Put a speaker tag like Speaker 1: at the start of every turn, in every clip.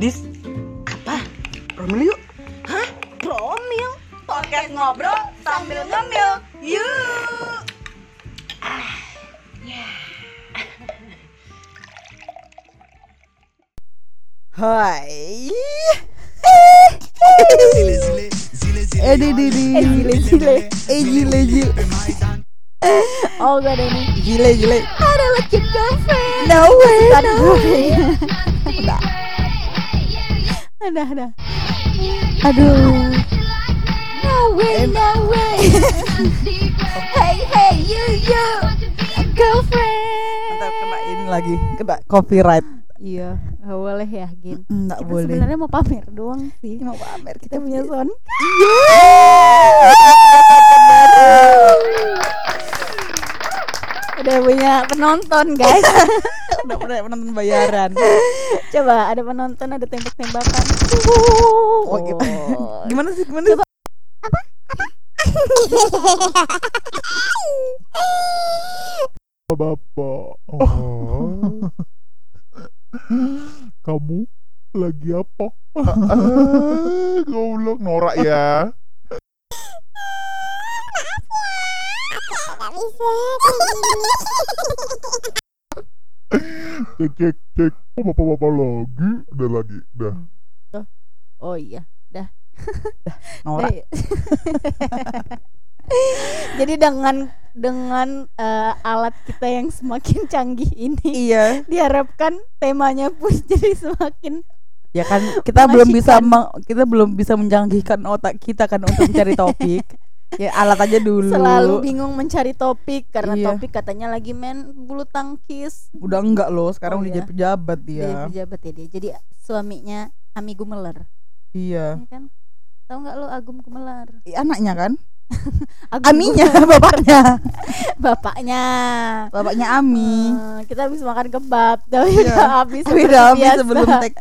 Speaker 1: Dis, apa? Romil yuk.
Speaker 2: Hah? Promil? Podcast ngobrol sambil ngemil. Yuk. Ah,
Speaker 3: Hai.
Speaker 4: Eh di di di.
Speaker 3: Eh gile gile.
Speaker 4: Eh gile gile.
Speaker 3: Oh gue ada ini.
Speaker 4: Gile gile.
Speaker 3: Ada legit girlfriend. No way. No way. Udah. Udah udah. Aduh. No way no way. hey hey you you girlfriend.
Speaker 4: Ntar kena ini lagi. Kena copyright.
Speaker 3: Iya, nggak boleh ya, Gin.
Speaker 4: Enggak
Speaker 3: Kita
Speaker 4: boleh.
Speaker 3: sebenarnya mau pamer doang sih.
Speaker 4: mau pamer
Speaker 3: Kita punya sound
Speaker 4: Ah!
Speaker 3: udah punya penonton guys
Speaker 4: Udah pernah menonton bayaran.
Speaker 3: coba ada penonton ada tembak-tembakan
Speaker 4: Oh, kita-
Speaker 3: Oh.
Speaker 4: Gimana sih? Gimana sih?
Speaker 5: Bapak. Oh. Kamu lagi apa? Ah, Goblok norak ya. Cek cek cek. Oh, bapak-bapak lagi. Udah lagi. Udah.
Speaker 3: oh iya
Speaker 4: Norak.
Speaker 3: Eh. jadi dengan dengan eh, alat kita yang semakin canggih ini
Speaker 4: Iya.
Speaker 3: diharapkan temanya pun jadi semakin
Speaker 4: Ya kan kita belum bisa
Speaker 3: Mengasyikan.
Speaker 4: meng- kita belum bisa menjanggihkan otak kita kan untuk mencari topik. Ya alat aja dulu.
Speaker 3: selalu bingung mencari topik karena
Speaker 4: Iya.
Speaker 3: topik katanya lagi main bulu tangkis
Speaker 4: Udah enggak loh, sekarang
Speaker 3: Oh,
Speaker 4: udah
Speaker 3: iya.
Speaker 4: jadi pejabat dia.
Speaker 3: dia pejabat ya dia jadi suaminya Ami Gumelar
Speaker 4: Iya.
Speaker 3: ya kan tahu nggak lo Agum Gumelar
Speaker 4: Eh, Anaknya kan?
Speaker 3: Agum
Speaker 4: Aminya, bapaknya.
Speaker 3: Gumelar, bapaknya
Speaker 4: Bapaknya Ami.
Speaker 3: Eh, kita habis makan kebab tapi
Speaker 4: Iya.
Speaker 3: udah habis
Speaker 4: Tapi
Speaker 3: seperti
Speaker 4: udah habis
Speaker 3: biasa.
Speaker 4: sebelum tag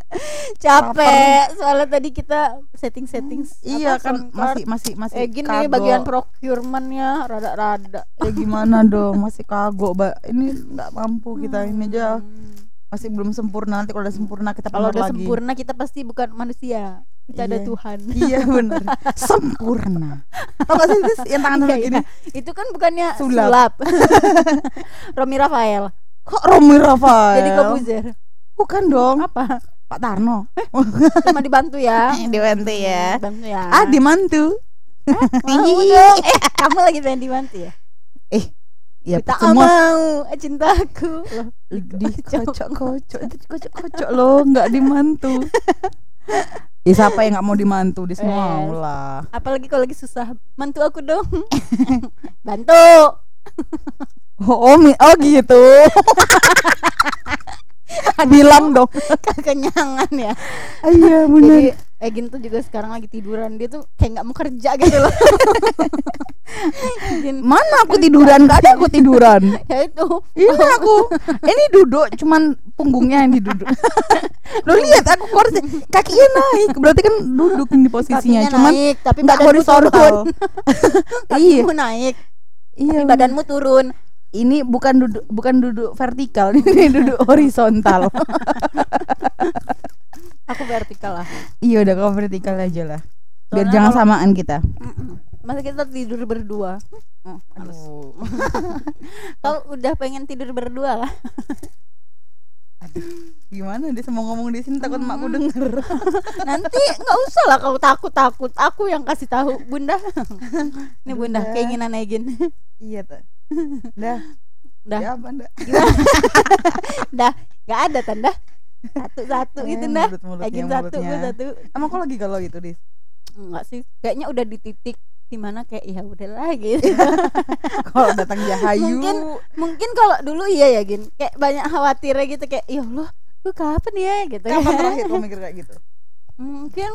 Speaker 3: capek soalnya tadi kita setting setting
Speaker 4: Iya kan masih masih masih
Speaker 3: eh gini nih bagian procurementnya rada-rada
Speaker 4: ya gimana dong masih kagok mbak ini nggak mampu kita ini aja
Speaker 3: Hmm.
Speaker 4: masih belum sempurna nanti kalau udah sempurna kita
Speaker 3: kalau
Speaker 4: pamer
Speaker 3: udah
Speaker 4: lagi
Speaker 3: sempurna kita pasti bukan manusia kita ada
Speaker 4: Iya.
Speaker 3: Tuhan
Speaker 4: iya benar sempurna tau gak sih Sis, yang tangan
Speaker 3: Iya,
Speaker 4: tangan gini
Speaker 3: itu kan bukannya
Speaker 4: Sulap.
Speaker 3: sulap, Romi Rafael
Speaker 4: kok Romi Rafael
Speaker 3: jadi Kobuzer
Speaker 4: bukan dong
Speaker 3: apa
Speaker 4: Pak Tarno
Speaker 3: cuma dibantu ya
Speaker 4: DWNT ya
Speaker 3: bantu ya
Speaker 4: ah dimantu
Speaker 3: mau dong eh kamu lagi pengen dibantu ya
Speaker 4: ya
Speaker 3: tak
Speaker 4: semua
Speaker 3: mau Eh, cintaku Loh,
Speaker 4: dikocok kocok itu kocok kocok loh nggak dimantu Ya siapa yang nggak mau dimantu Dia semua
Speaker 3: Yes.
Speaker 4: mau lah
Speaker 3: apalagi kalau lagi susah bantu aku dong bantu
Speaker 4: Oh, oh, mi- oh gitu. Bilang dong.
Speaker 3: kekenyangan ya
Speaker 4: Iya
Speaker 3: jadi Egin tuh juga sekarang lagi tiduran dia tuh kayak nggak mau kerja gitu loh Egin,
Speaker 4: Mana aku tiduran? Gak ada aku tiduran.
Speaker 3: ya itu
Speaker 4: Ini aku. Ini duduk cuman punggungnya yang diduduk. Lo lihat aku korset kakinya naik. Berarti kan duduk di posisinya
Speaker 3: kakinya
Speaker 4: cuman
Speaker 3: naik tapi
Speaker 4: nggak
Speaker 3: badanmu
Speaker 4: horizontal.
Speaker 3: turun
Speaker 4: iya,
Speaker 3: kakimu naik
Speaker 4: iya.
Speaker 3: tapi badanmu turun
Speaker 4: Ini bukan duduk bukan duduk vertikal, ini duduk horizontal.
Speaker 3: aku vertikal lah
Speaker 4: iya udah kalau vertikal aja lah. Biar
Speaker 3: Soalnya
Speaker 4: jangan
Speaker 3: kalau-
Speaker 4: samaan kita.
Speaker 3: masa kita tidur berdua
Speaker 4: Aduh.
Speaker 3: kau udah pengen tidur berdua lah
Speaker 4: Gimana dia mau ngomong di sini takut
Speaker 3: Hmm.
Speaker 4: makku denger.
Speaker 3: nanti nggak usah lah kau takut takut aku yang kasih tahu bunda ini
Speaker 4: Bunda.
Speaker 3: bunda, keinginan Egin
Speaker 4: Iya tuh. Dah.
Speaker 3: Dah.
Speaker 4: Ya, apa, Nda?
Speaker 3: nggak ada tanda satu satu
Speaker 4: Eh,
Speaker 3: itu dah
Speaker 4: mulut-mulutnya,
Speaker 3: Egin satu
Speaker 4: mulutnya.
Speaker 3: gue satu
Speaker 4: Emang kok lagi galau gitu, Dis?
Speaker 3: enggak sih kayaknya udah di titik dimana kayak ya udahlah gitu
Speaker 4: Kalau datang Jahayu.
Speaker 3: Mungkin- mungkin kalau dulu iya ya gin kayak banyak khawatirnya gitu kayak ya allah gue kapan ya gitu ya.
Speaker 4: kapan terakhir kamu mikir kayak gitu?
Speaker 3: mungkin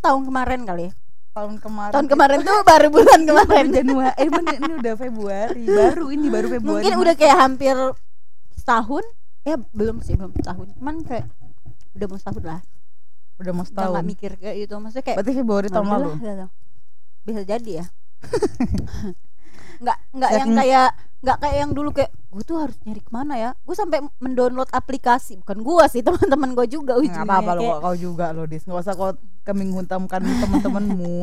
Speaker 3: tahun kemarin kali ya.
Speaker 4: Tahun kemarin.
Speaker 3: tahun kemarin tuh baru bulan kemarin
Speaker 4: Baru Januari. Eh, bener, ini udah Februari. Baru ini baru Februari.
Speaker 3: mungkin udah kayak hampir setahun ya belum sih belum setahun cuman kayak udah mau setahun lah
Speaker 4: udah mau
Speaker 3: udah
Speaker 4: setahun.
Speaker 3: nggak mikir kayak gitu maksudnya kayak
Speaker 4: Berarti Februari tahun
Speaker 3: "Ah,
Speaker 4: lalu.
Speaker 3: udahlah, udahlah." bisa jadi ya nggak nggak yang
Speaker 4: Saking-
Speaker 3: kayak nggak kayak yang dulu kayak gue tuh harus nyari kemana ya gue sampai mendownload aplikasi bukan gue sih teman-teman gue juga
Speaker 4: Nggak
Speaker 3: ujungnya
Speaker 4: apa-apa lo
Speaker 3: Kayak
Speaker 4: kok, kau juga lo dis nggak usah kau kambing huntamkan teman-temanmu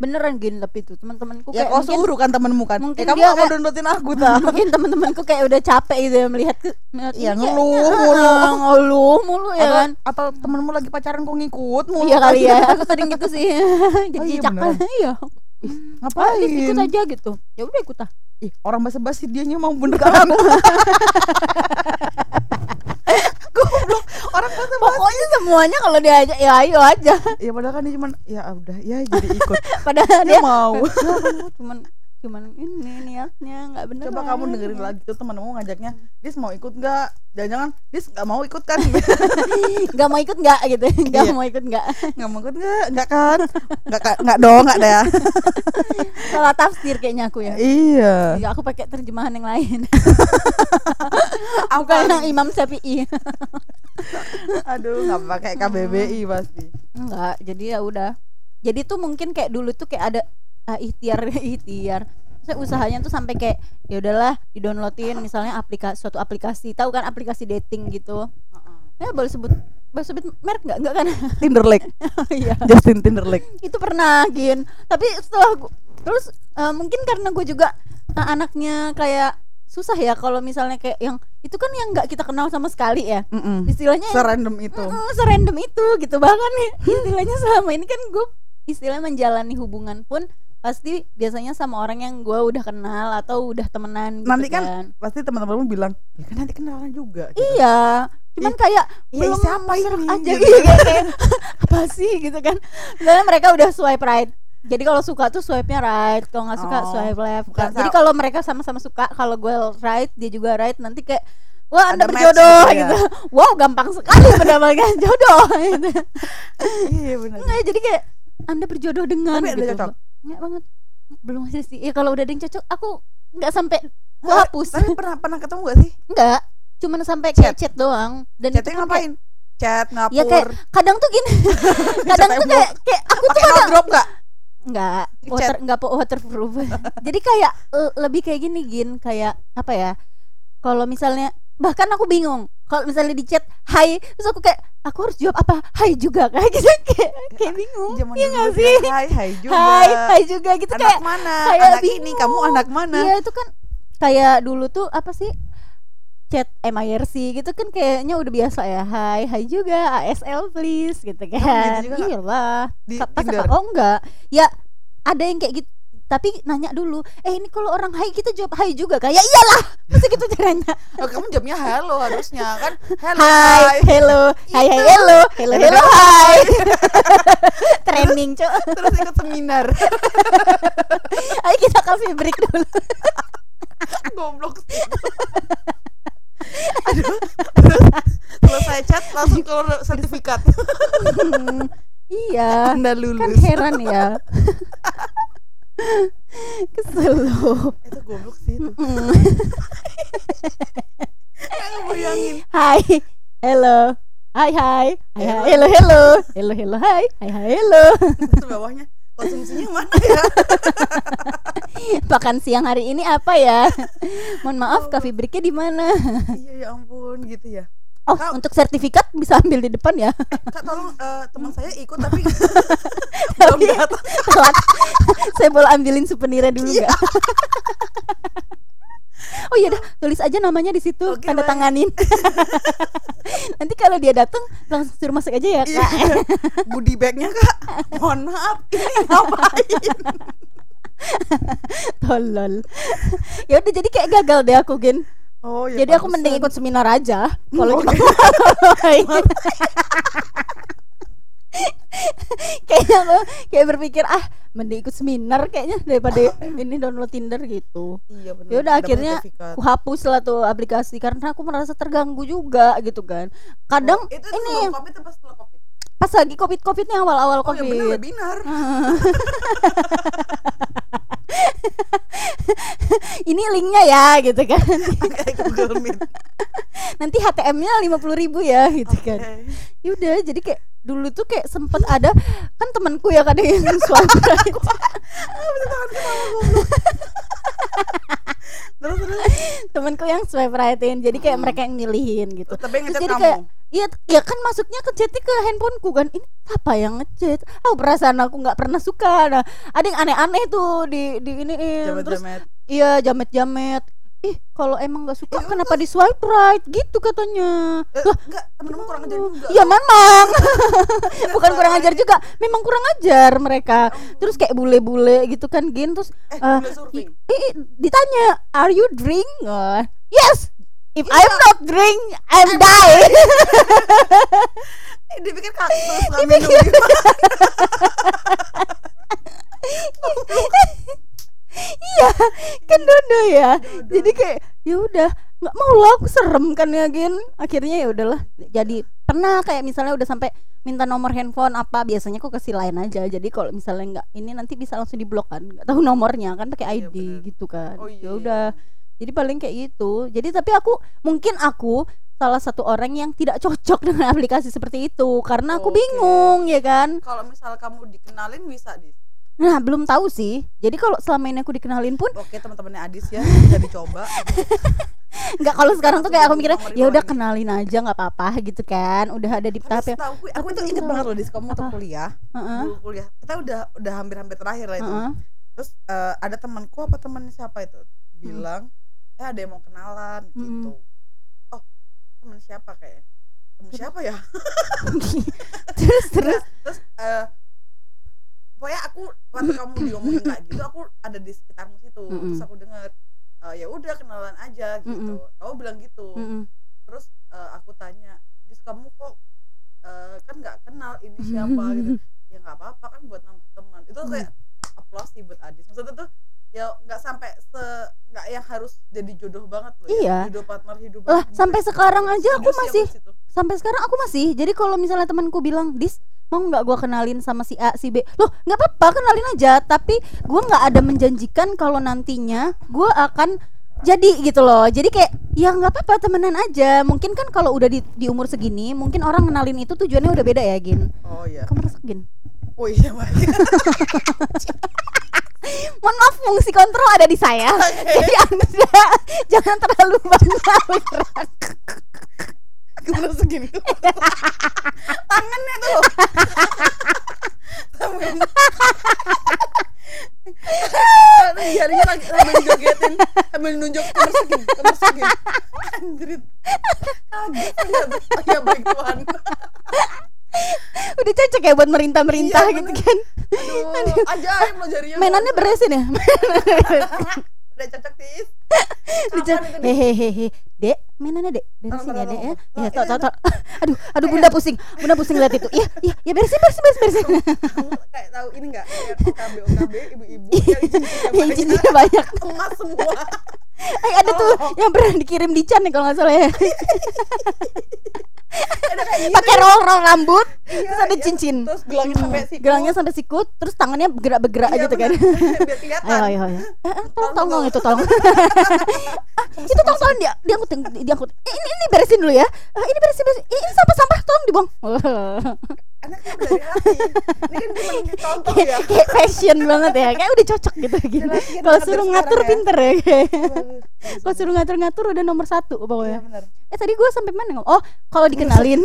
Speaker 3: beneran gini tapi tuh teman-temanku
Speaker 4: ya
Speaker 3: kayak
Speaker 4: kau
Speaker 3: mungkin-
Speaker 4: suruh kan temanmu kan
Speaker 3: mungkin
Speaker 4: eh, kamu
Speaker 3: dia
Speaker 4: nggak mau
Speaker 3: nggak-
Speaker 4: downloadin aku tak
Speaker 3: mungkin teman-temanku kayak udah capek gitu ya melihat ke melihat
Speaker 4: Iya,
Speaker 3: ini kayak-
Speaker 4: ngeluh
Speaker 3: Ah,
Speaker 4: mulu.
Speaker 3: ngeluh mulu ya
Speaker 4: Atau-
Speaker 3: kan
Speaker 4: atau temanmu lagi pacaran kau ngikut mulu
Speaker 3: iya kali ya aku sering gitu sih jadi
Speaker 4: Oh, iya,
Speaker 3: cakal iya
Speaker 4: ngapain
Speaker 3: Terus ikut aja gitu ya udah ikut ah
Speaker 4: Ih, orang basa-basi dianya mau bener aku goblok orang basa-basi
Speaker 3: pokoknya semuanya kalau diajak ya ayo aja
Speaker 4: ya padahal kan dia cuman ya udah ya jadi ikut
Speaker 3: padahal
Speaker 4: dia
Speaker 3: dia
Speaker 4: mau
Speaker 3: "Ya, kamu cuman cuman ini niatnya nggak bener
Speaker 4: coba kamu dengerin lagi tuh temanmu ngajaknya dis mau ikut nggak jangan-jangan dis nggak mau ikut kan
Speaker 3: nggak mau ikut nggak gitu nggak
Speaker 4: Iya.
Speaker 3: mau ikut nggak
Speaker 4: nggak mau ikut nggak nggak kan nggak ka- nggak dong nggak ada ya
Speaker 3: salah tafsir kayaknya aku ya
Speaker 4: iya
Speaker 3: Iya, aku pakai terjemahan yang lain
Speaker 4: apa
Speaker 3: bukan Imam Syafi'i
Speaker 4: aduh nggak pakai KBBI pasti
Speaker 3: Enggak, jadi ya udah. Jadi tuh mungkin kayak dulu tuh kayak ada ah, ikhtiar ikhtiar. Saya usahanya tuh sampai kayak ya udahlah didownloadin misalnya aplikasi suatu aplikasi, tahu kan aplikasi dating gitu. Ya boleh sebut boleh sebut merek nggak nggak kan?
Speaker 4: Tinderlake
Speaker 3: Iya.
Speaker 4: Justin Tinderlake
Speaker 3: Itu pernah gin. Tapi setelah gua- terus eh, mungkin karena gue juga eh, anaknya kayak susah ya kalau misalnya kayak yang itu kan yang nggak kita kenal sama sekali ya.
Speaker 4: Mm-mm.
Speaker 3: Istilahnya yang-
Speaker 4: serandom itu
Speaker 3: Mm, serandom itu gitu bahkan ya, istilahnya selama ini kan gue istilah menjalani hubungan pun pasti biasanya sama orang yang gue udah kenal atau udah temenan gitu
Speaker 4: Nanti kan pasti teman-temanmu bilang ya kan nanti kenalan juga gitu.
Speaker 3: iya cuman kayak
Speaker 4: Ya,
Speaker 3: belum
Speaker 4: siapa ini
Speaker 3: aja
Speaker 4: Gitu.
Speaker 3: gitu kayak apa sih gitu kan misalnya mereka udah swipe right jadi kalau suka tuh swipe-nya right, kalau nggak suka
Speaker 4: Oh,
Speaker 3: swipe left.
Speaker 4: bukan
Speaker 3: Jadi
Speaker 4: sa-
Speaker 3: kalau mereka sama-sama suka, kalau gue right, dia juga right, nanti kayak wah anda
Speaker 4: Ada match
Speaker 3: berjodoh
Speaker 4: gitu ya.
Speaker 3: gitu. Wow, gampang sekali mendapatkan jodoh. Gitu.
Speaker 4: iya benar
Speaker 3: Nggak, jadi kayak anda berjodoh dengan
Speaker 4: tapi
Speaker 3: gitu.
Speaker 4: ada cocok
Speaker 3: Nggak banget. Belum aja sih. Ya kalau udah ada yang cocok, aku nggak sampai aku
Speaker 4: Nggak,
Speaker 3: hapus.
Speaker 4: tapi pernah pernah ketemu gak sih
Speaker 3: Nggak. Cuman sampai kayak chat doang. Dan itu
Speaker 4: chatnya
Speaker 3: pun kayak-
Speaker 4: ngapain chat ngapur
Speaker 3: Ya, kayak kadang tuh gini. kadang tuh kayak kayak aku
Speaker 4: pakai hard drop gak
Speaker 3: nggak
Speaker 4: Chat.
Speaker 3: water nggak po- waterproof. jadi kayak eh, lebih kayak gini gin kayak apa ya? Kalau misalnya bahkan aku bingung kalau misalnya di chat hai terus aku kayak aku harus jawab apa hai juga kayak gitu kayak, kayak bingung
Speaker 4: Zaman
Speaker 3: iya nggak
Speaker 4: dulu
Speaker 3: sih
Speaker 4: bilang, hai hai juga
Speaker 3: hai hai juga gitu
Speaker 4: anak
Speaker 3: kayak
Speaker 4: mana
Speaker 3: kayak
Speaker 4: anak ini
Speaker 3: bingung.
Speaker 4: kamu anak mana
Speaker 3: Iya itu kan kayak dulu tuh apa sih chat MIRC gitu kan kayaknya udah biasa ya Hai, hai juga ASL please gitu kan
Speaker 4: gitu juga nggak?
Speaker 3: Iya lah
Speaker 4: di
Speaker 3: Pas- pas-
Speaker 4: Tinder
Speaker 3: Oh enggak Ya ada yang kayak gitu tapi nanya dulu eh ini kalau orang hai kita jawab hai juga kayak iyalah masa gitu caranya
Speaker 4: oh, kamu jawabnya halo harusnya kan halo
Speaker 3: hai
Speaker 4: hai.
Speaker 3: hello hai hai hello Iya. hello hello hai trending cok
Speaker 4: terus ikut seminar
Speaker 3: ayo kita kasih break dulu
Speaker 4: goblok sih. Aduh, terus selesai chat langsung keluar sertifikat
Speaker 3: Hmm, iya
Speaker 4: anda
Speaker 3: kan
Speaker 4: lulus
Speaker 3: heran ya kesel loh
Speaker 4: itu goblok sih itu
Speaker 3: Mm.
Speaker 4: bayangin
Speaker 3: hai hello hai hai hai hai, hello hello hello hello hai hai hai hello
Speaker 4: terus bawahnya konsumsinya mana ya
Speaker 3: makan siang hari ini apa ya mohon maaf coffee breaknya di mana
Speaker 4: iya ya ampun gitu ya
Speaker 3: oh
Speaker 4: Kau-
Speaker 3: untuk sertifikat bisa ambil di depan ya
Speaker 4: kak tolong eh, teman saya ikut tapi belum datang Iya.
Speaker 3: telat saya boleh ambilin souvenirnya dulu nggak oh iya dah tulis aja namanya di situ
Speaker 4: Oke,
Speaker 3: tanda
Speaker 4: baik.
Speaker 3: tanganin nanti kalau dia datang langsung suruh masuk aja ya
Speaker 4: iya
Speaker 3: kak
Speaker 4: body bagnya kak mohon maaf ini ngapain
Speaker 3: tolol ya udah jadi kayak gagal deh aku gin
Speaker 4: oh ya
Speaker 3: jadi aku
Speaker 4: pantesan.
Speaker 3: mending ikut seminar aja kalau
Speaker 4: Oke.
Speaker 3: kita kayaknya aku kayak berpikir ah mending ikut seminar kayaknya daripada ini download Tinder gitu
Speaker 4: iya bener,
Speaker 3: Yaudah,
Speaker 4: dapat
Speaker 3: akhirnya
Speaker 4: sertifikat.
Speaker 3: aku hapus lah tuh aplikasi karena aku merasa terganggu juga gitu kan kadang
Speaker 4: itu
Speaker 3: ini-
Speaker 4: ini covid itu pas setelah covid
Speaker 3: pas lagi covid covidnya awal-awal
Speaker 4: oh ya bener
Speaker 3: covid Ah.
Speaker 4: webinar
Speaker 3: ini linknya ya gitu kan
Speaker 4: kayak Google Meet
Speaker 3: nanti HTM-nya lima ribu ya gitu kan
Speaker 4: Eh,
Speaker 3: Yaudah jadi kayak dulu tuh kayak sempet ada kan temanku ya kadang yang swipe right.
Speaker 1: Terus terus.
Speaker 3: temenku yang swipe rightin jadi
Speaker 1: Hmm.
Speaker 3: kayak mereka yang milihin gitu
Speaker 1: Tapi yang
Speaker 3: Terus
Speaker 1: ngechat
Speaker 3: jadi
Speaker 1: kamu.
Speaker 3: kayak Iya, ya kan masuknya ke chatnya ke handphoneku kan. Ini apa yang ngechat? Oh, perasaan aku nggak pernah suka. Nah, ada yang aneh-aneh tuh di di ini terus
Speaker 1: Jamet-jamet.
Speaker 3: iya jamet-jamet. Ih, kalau emang nggak suka kenapa di swipe right gitu katanya.
Speaker 1: Eh,
Speaker 3: Lah,
Speaker 1: enggak, temenmu kurang ajar
Speaker 3: Oh,
Speaker 1: juga.
Speaker 3: Ya memang. Bukan kurang ajar juga, memang kurang ajar mereka. Terus kayak bule-bule gitu kan, gin terus
Speaker 1: Eh,
Speaker 3: eh,
Speaker 1: boleh surfing.
Speaker 3: i- i- ditanya, "Are you drink?" Oh, yes. If
Speaker 1: Iya.
Speaker 3: I'm not drink, I'm die.
Speaker 1: Eh, dia pikir kaktus nggak minum gitu.
Speaker 3: iya kan dodo ya jadi kayak ya udah nggak mau lah aku serem kan ya Gin akhirnya ya udahlah jadi pernah kayak misalnya udah sampai minta nomor handphone apa biasanya aku kasih lain aja jadi kalau misalnya nggak ini nanti bisa langsung diblok kan nggak tahu nomornya kan pakai
Speaker 1: Iya,
Speaker 3: ID
Speaker 1: bener.
Speaker 3: gitu kan
Speaker 1: Oh, iya,
Speaker 3: ya
Speaker 1: iya.
Speaker 3: udah jadi paling kayak gitu jadi tapi aku mungkin aku salah satu orang yang tidak cocok dengan aplikasi seperti itu karena aku
Speaker 1: Oke.
Speaker 3: bingung ya kan
Speaker 1: Kalau misal kamu dikenalin bisa di.
Speaker 3: nah belum tahu sih jadi kalau selama ini aku dikenalin pun
Speaker 1: Oke teman-temannya Adis ya bisa dicoba.
Speaker 3: Enggak kalau sekarang tuh
Speaker 1: Langsung
Speaker 3: kayak aku
Speaker 1: jadi
Speaker 3: mikirnya
Speaker 1: nomor
Speaker 3: ya udah
Speaker 1: dibolehin.
Speaker 3: kenalin aja nggak apa-apa gitu kan. Udah ada di tahap
Speaker 1: Tapi
Speaker 3: yang
Speaker 1: setahu aku, aku
Speaker 3: Aku
Speaker 1: itu
Speaker 3: tuh
Speaker 1: inget
Speaker 3: tahu.
Speaker 1: banget loh Dis kamu waktu
Speaker 3: Apa?
Speaker 1: kuliah,
Speaker 3: Heeh,
Speaker 1: dulu kuliah. Kita udah udah hampir-hampir terakhir lah itu.
Speaker 3: heeh.
Speaker 1: Terus eh, ada temanku apa teman siapa itu
Speaker 3: Hmm.
Speaker 1: bilang, "Eh, ada yang mau kenalan gitu." Oh, teman siapa kayaknya? Teman siapa ya?
Speaker 3: terus terus
Speaker 1: Terus terus eh pokoknya aku waktu kamu diomongin kayak gitu aku ada di sekitarmu situ
Speaker 3: Mm-mm.
Speaker 1: terus aku dengar eh, ya udah kenalan aja gitu kamu bilang gitu
Speaker 3: Mm-mm.
Speaker 1: terus eh, aku tanya terus kamu kok eh, kan nggak kenal ini siapa gitu ya nggak apa-apa kan buat nambah teman itu kayak
Speaker 3: Hmm.
Speaker 1: applause sih buat Adis maksudnya tuh ya nggak sampai se nggak yang harus jadi jodoh banget loh ya.
Speaker 3: Iya.
Speaker 1: jodoh partner hidup
Speaker 3: Lah,
Speaker 1: banget.
Speaker 3: sampai sekarang aja
Speaker 1: Setuju
Speaker 3: aku
Speaker 1: sih
Speaker 3: masih-
Speaker 1: di situ.
Speaker 3: sampai sekarang aku masih. Jadi kalau misalnya temanku bilang, "Dis, mau nggak gua kenalin sama si A, si B?" Loh, nggak apa-apa kenalin aja, tapi gua nggak ada menjanjikan kalau nantinya gua akan jadi gitu loh. Jadi kayak ya nggak apa-apa temenan aja. Mungkin kan kalau udah di, di umur segini, mungkin orang kenalin itu tujuannya udah beda ya, Gin.
Speaker 1: oh iya
Speaker 3: Kamu merasa Gin?
Speaker 1: oh iya Mbak.
Speaker 3: Mohon maaf fungsi kontrol ada di saya. Jadi Anda jangan terlalu banyak bergerak.
Speaker 1: Kemudian segini tuh Tangannya tuh Tangannya. Aduh, Jarinya lagi sambil jogetin Sambil nunjuk Kamar segini Kamar segini Anjrit Kaget ternyata. Oh ya baik Tuhan
Speaker 3: Udah cocok ya buat merintah-merintah
Speaker 1: Iya,
Speaker 3: gitu
Speaker 1: bener. Iya,
Speaker 3: kan.
Speaker 1: Aduh Ajaib lo jarinya Ah,
Speaker 3: Mainannya beresin ya.
Speaker 1: Udah cocok tis Eh.
Speaker 3: Hehehe. Dek, mainannya Dek. Beresin
Speaker 1: Tolong,
Speaker 3: ya,
Speaker 1: tolong,
Speaker 3: Dek ya.
Speaker 1: tolong.
Speaker 3: Ya,
Speaker 1: Oh,
Speaker 3: tok
Speaker 1: iya,
Speaker 3: tok tok. Aduh, aduh Bunda pusing. Bunda pusing lihat itu. Iya, iya, ya beresin beresin beresin beresin.
Speaker 1: Kamu kayak tahu ini gak Kayak OKB OKB Ibu-ibu Yang cincinnya banyak.
Speaker 3: Yang Iya, cincinnya banyak.
Speaker 1: Emas semua
Speaker 3: Eh ada
Speaker 1: Oh,
Speaker 3: tuh yang pernah dikirim di Chan nih kalau nggak salah ya.
Speaker 1: Iya. Ada kayak gitu.
Speaker 3: Pakai roll-roll rambut,
Speaker 1: Iya,
Speaker 3: terus ada
Speaker 1: iya.
Speaker 3: cincin. Hmm,
Speaker 1: Terus gelangnya sampai siku
Speaker 3: Gelangnya sampai siku, terus tangannya bergerak-bergerak
Speaker 1: Iya,
Speaker 3: gitu kan.
Speaker 1: bener. biar kelihatan
Speaker 3: Ayo, ayo, ayo. Eh, eh, tolong, tolong, tolong itu
Speaker 1: gitu,
Speaker 3: tolong. Ah, itu tolong, tolong dia diangkut, di- diangkut. Eh, ini, ini beresin dulu ya. Eh, ini beresin, beresin. Ini, ini sampah, sampah, tolong dibuang.
Speaker 1: anaknya dari hati ini kan cuma dicontoh ya
Speaker 3: Kayak- Kayak fashion banget ya. Kayak udah cocok gitu. gitu.
Speaker 1: Laki-laki
Speaker 3: Kalau
Speaker 1: banget
Speaker 3: suruh
Speaker 1: dari
Speaker 3: ngatur
Speaker 1: sekarang
Speaker 3: pinter ya. kayak.
Speaker 1: Bagus.
Speaker 3: Kalau suruh ngatur-ngatur udah nomor satu
Speaker 1: Iya,
Speaker 3: pokoknya.
Speaker 1: benar.
Speaker 3: Eh tadi gue sampai mana ngomong? Oh, kalau dikenalin.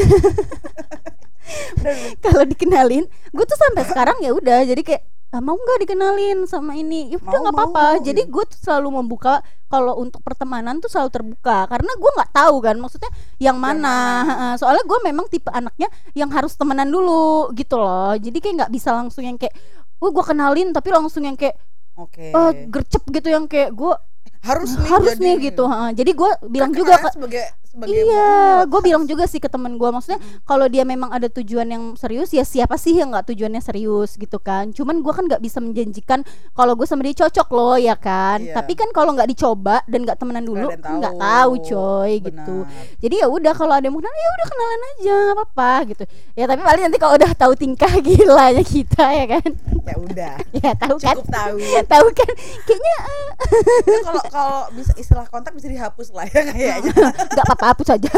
Speaker 3: kalau dikenalin, gue tuh sampai sekarang ya udah. Jadi kayak "Ah, mau nggak dikenalin sama ini? Ya udah
Speaker 1: Mau,
Speaker 3: nggak
Speaker 1: mau,
Speaker 3: apa-apa.
Speaker 1: mau, gitu.
Speaker 3: Jadi gue tuh selalu membuka kalau untuk pertemanan tuh selalu terbuka karena gue nggak tahu kan maksudnya yang mana. Heeh, Soalnya gue memang tipe anaknya yang harus temenan dulu gitu loh. Jadi kayak nggak bisa langsung yang kayak Gue gue kenalin tapi langsung yang kayak
Speaker 1: oke
Speaker 3: eh, gercep gitu yang kayak gue
Speaker 1: harus nih
Speaker 3: harus nih
Speaker 1: jadi.
Speaker 3: gitu heeh. jadi gue bilang
Speaker 1: Kan
Speaker 3: juga
Speaker 1: karena
Speaker 3: ke
Speaker 1: sebagai sebagai
Speaker 3: iya
Speaker 1: mulut.
Speaker 3: gue bilang juga sih ke temen gue maksudnya
Speaker 1: Mm-mm.
Speaker 3: kalau dia memang ada tujuan yang serius ya siapa sih yang nggak tujuannya serius gitu kan cuman gue kan nggak bisa menjanjikan kalau gue sama dia cocok loh ya kan
Speaker 1: Iya.
Speaker 3: tapi kan kalau nggak dicoba dan nggak temenan dulu
Speaker 1: ada yang
Speaker 3: kan nggak
Speaker 1: tahu.
Speaker 3: tahu coy
Speaker 1: Benar.
Speaker 3: gitu jadi ya udah kalau ada yang mau kenalan ya udah kenalan aja nggak apa-apa gitu ya tapi paling nanti kalau udah tahu tingkah gilanya kita ya kan
Speaker 1: ya udah
Speaker 3: ya tahu kan
Speaker 1: cukup tahu ya.
Speaker 3: tahu kan kayaknya
Speaker 1: Tapi kalau kalau bisa istilah kontak bisa dihapus lah ya kayaknya
Speaker 3: nggak apa-apa kehapus aja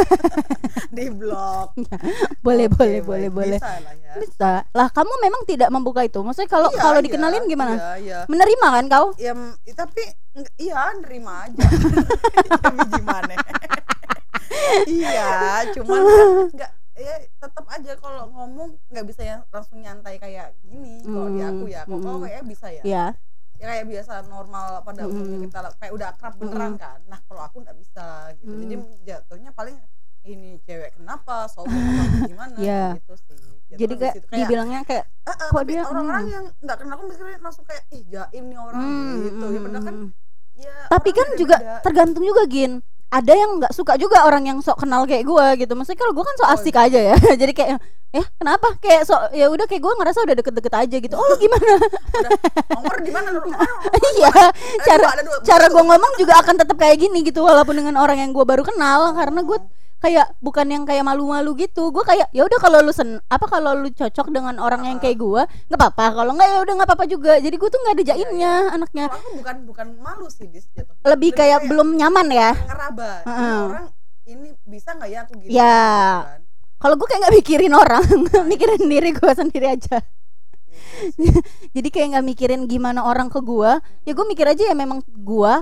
Speaker 1: di blog
Speaker 3: boleh
Speaker 1: Oke,
Speaker 3: boleh
Speaker 1: baik.
Speaker 3: boleh boleh
Speaker 1: bisa lah ya
Speaker 3: bisa lah kamu memang tidak membuka itu maksudnya kalau
Speaker 1: Iya,
Speaker 3: kalau
Speaker 1: iya,
Speaker 3: dikenalin gimana
Speaker 1: iya iya
Speaker 3: menerima kan kau
Speaker 1: ya m- tapi ng- iya nerima aja Ya, biji maneh. iya cuman kan nggak ya tetap aja kalau ngomong nggak bisa ya langsung nyantai kayak gini kalau di aku ya kalau kau
Speaker 3: Mm, mm.
Speaker 1: kayaknya bisa ya
Speaker 3: ya
Speaker 1: ya kayak biasa normal pada
Speaker 3: Mm.
Speaker 1: umumnya kita lah- kayak udah akrab beneran
Speaker 3: Hmm.
Speaker 1: kan nah kalau aku nggak bisa gitu
Speaker 3: Mm.
Speaker 1: jadi jatuhnya paling ini cewek kenapa sombong apa gimana
Speaker 3: Iya.
Speaker 1: gitu sih Jatuhnya
Speaker 3: jadi
Speaker 1: di
Speaker 3: kayak
Speaker 1: situ.
Speaker 3: dibilangnya kayak
Speaker 1: "Ah, ah,
Speaker 3: kok
Speaker 1: tapi
Speaker 3: dia-
Speaker 1: orang-orang
Speaker 3: hmm.
Speaker 1: yang nggak kenal aku mikirnya langsung kayak ih jaim nih orang
Speaker 3: hmm,
Speaker 1: gitu ya padahal kan
Speaker 3: hmm.
Speaker 1: ya
Speaker 3: tapi
Speaker 1: orang
Speaker 3: kan juga
Speaker 1: beda-beda.
Speaker 3: tergantung juga gin ada yang nggak suka juga orang yang sok kenal kayak gue gitu maksudnya kalau gue kan sok
Speaker 1: Oh,
Speaker 3: asik aja ya jadi kayak eh kenapa kayak sok ya udah kayak gue ngerasa udah deket-deket aja gitu oh gimana
Speaker 1: Nomor di mana lu? Ada
Speaker 3: iya cara
Speaker 1: dua, ada dua.
Speaker 3: cara gue ngomong juga akan tetap kayak gini gitu walaupun dengan orang yang gue baru kenal karena gue kayak bukan yang kayak malu-malu gitu gue kayak ya udah kalau lu sen apa kalau lu cocok dengan orang yang kayak gue nggak apa-apa kalau nggak ya udah nggak apa-apa juga jadi gue tuh nggak ada jaimnya anaknya
Speaker 1: Kalau aku bukan bukan malu sih dis jatuhnya.
Speaker 3: lebih kayak
Speaker 1: Iya.
Speaker 3: belum nyaman ya
Speaker 1: ngeraba. Ini
Speaker 3: Heeh.
Speaker 1: orang ini bisa nggak ya aku gini?
Speaker 3: Ya.
Speaker 1: gitu kan.
Speaker 3: kalau gue kayak nggak mikirin orang mikirin diri gue sendiri aja jadi kayak nggak mikirin gimana orang ke gue ya gue mikir aja ya memang gue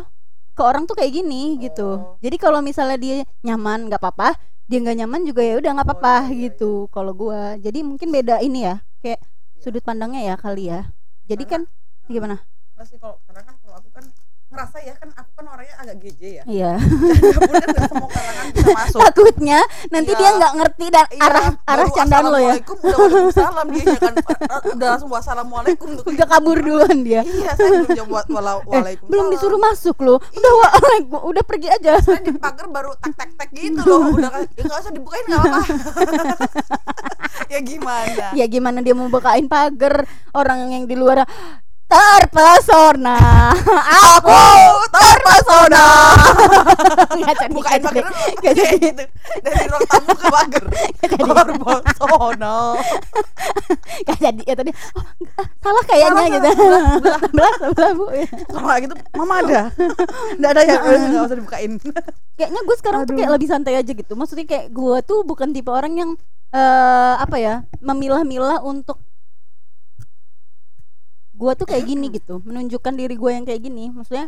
Speaker 3: ke orang tuh kayak gini gitu
Speaker 1: Oh.
Speaker 3: jadi kalau misalnya dia nyaman nggak apa-apa dia nggak nyaman juga ya udah nggak
Speaker 1: iya,
Speaker 3: apa-apa
Speaker 1: iya,
Speaker 3: gitu kalau gue jadi mungkin beda ini ya kayak sudut pandangnya ya kali ya jadi kan
Speaker 1: Karena-
Speaker 3: gimana
Speaker 1: Nggak Nah, sih kalau karena kan kalau aku kan ngerasa ya kan aku kan orangnya agak geje ya.
Speaker 3: iya
Speaker 1: Walaupun kan nggak semua kalangan bisa masuk.
Speaker 3: takutnya nanti
Speaker 1: Iya.
Speaker 3: dia nggak ngerti dan
Speaker 1: Iya,
Speaker 3: arah arah
Speaker 1: baru
Speaker 3: candaan lo ya
Speaker 1: Assalamualaikum udah salam dia ya kan. Udah langsung wassalamualaikum tuh.
Speaker 3: udah kabur duluan dia
Speaker 1: Iya, saya belum jawab wa- wala-
Speaker 3: eh,
Speaker 1: waalaikumsalam.
Speaker 3: belum disuruh masuk lo udah
Speaker 1: Iya.
Speaker 3: wa- udah pergi aja
Speaker 1: Saya di pagar baru tak tak tak gitu loh. Udah kan ya nggak usah dibukain nggak apa-apa. ya gimana?
Speaker 3: ya gimana dia mau bukain pagar orang yang di luar terpesona
Speaker 1: Ya,
Speaker 3: aku terpesona Nggak jadi,
Speaker 1: Bukain pagar
Speaker 3: nggak jadi.
Speaker 1: dulu.
Speaker 3: Nggak
Speaker 1: Kayak
Speaker 3: jadi.
Speaker 1: gitu. Dari ruang tamu ke pagar. Terpesona.
Speaker 3: Nggak jadi ya tadi oh, ah, salah kayaknya
Speaker 1: Salah,
Speaker 3: gitu sebelah sebelah sebelah bu ya.
Speaker 1: Kalau nggak gitu, mama ada. Nggak ada ya, udah, nggak usah dibukain.
Speaker 3: kayaknya gue sekarang tuh kayak lebih santai aja gitu maksudnya kayak gue tuh bukan tipe orang yang eh apa ya memilah-milah untuk gue tuh kayak gini gitu menunjukkan diri gue yang kayak gini maksudnya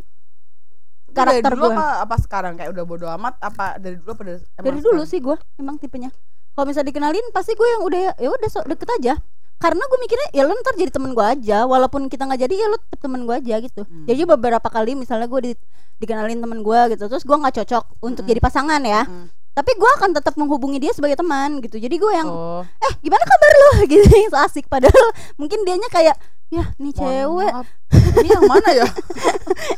Speaker 3: karakter
Speaker 1: dari dulu
Speaker 3: gue
Speaker 1: apa, apa sekarang kayak udah bodo amat apa dari dulu apa dari, emang
Speaker 3: dari dulu
Speaker 1: sekarang?
Speaker 3: sih gue emang tipenya kalau misalnya dikenalin pasti gue yang udah ya udah sok deket aja karena gue mikirnya ya lo ntar jadi temen gue aja walaupun kita nggak jadi ya lo tetep temen gue aja gitu
Speaker 1: Hmm.
Speaker 3: jadi beberapa kali misalnya gue di- dikenalin temen gue gitu terus gue nggak cocok untuk
Speaker 1: Mm-mm.
Speaker 3: jadi pasangan ya
Speaker 1: Mm.
Speaker 3: tapi gue akan tetap menghubungi dia sebagai teman gitu jadi gue yang
Speaker 1: Oh,
Speaker 3: eh gimana kabar lo gitu yang so asik padahal mungkin dianya kayak ya nih
Speaker 1: mohon
Speaker 3: cewek
Speaker 1: maaf. Ini yang mana ya?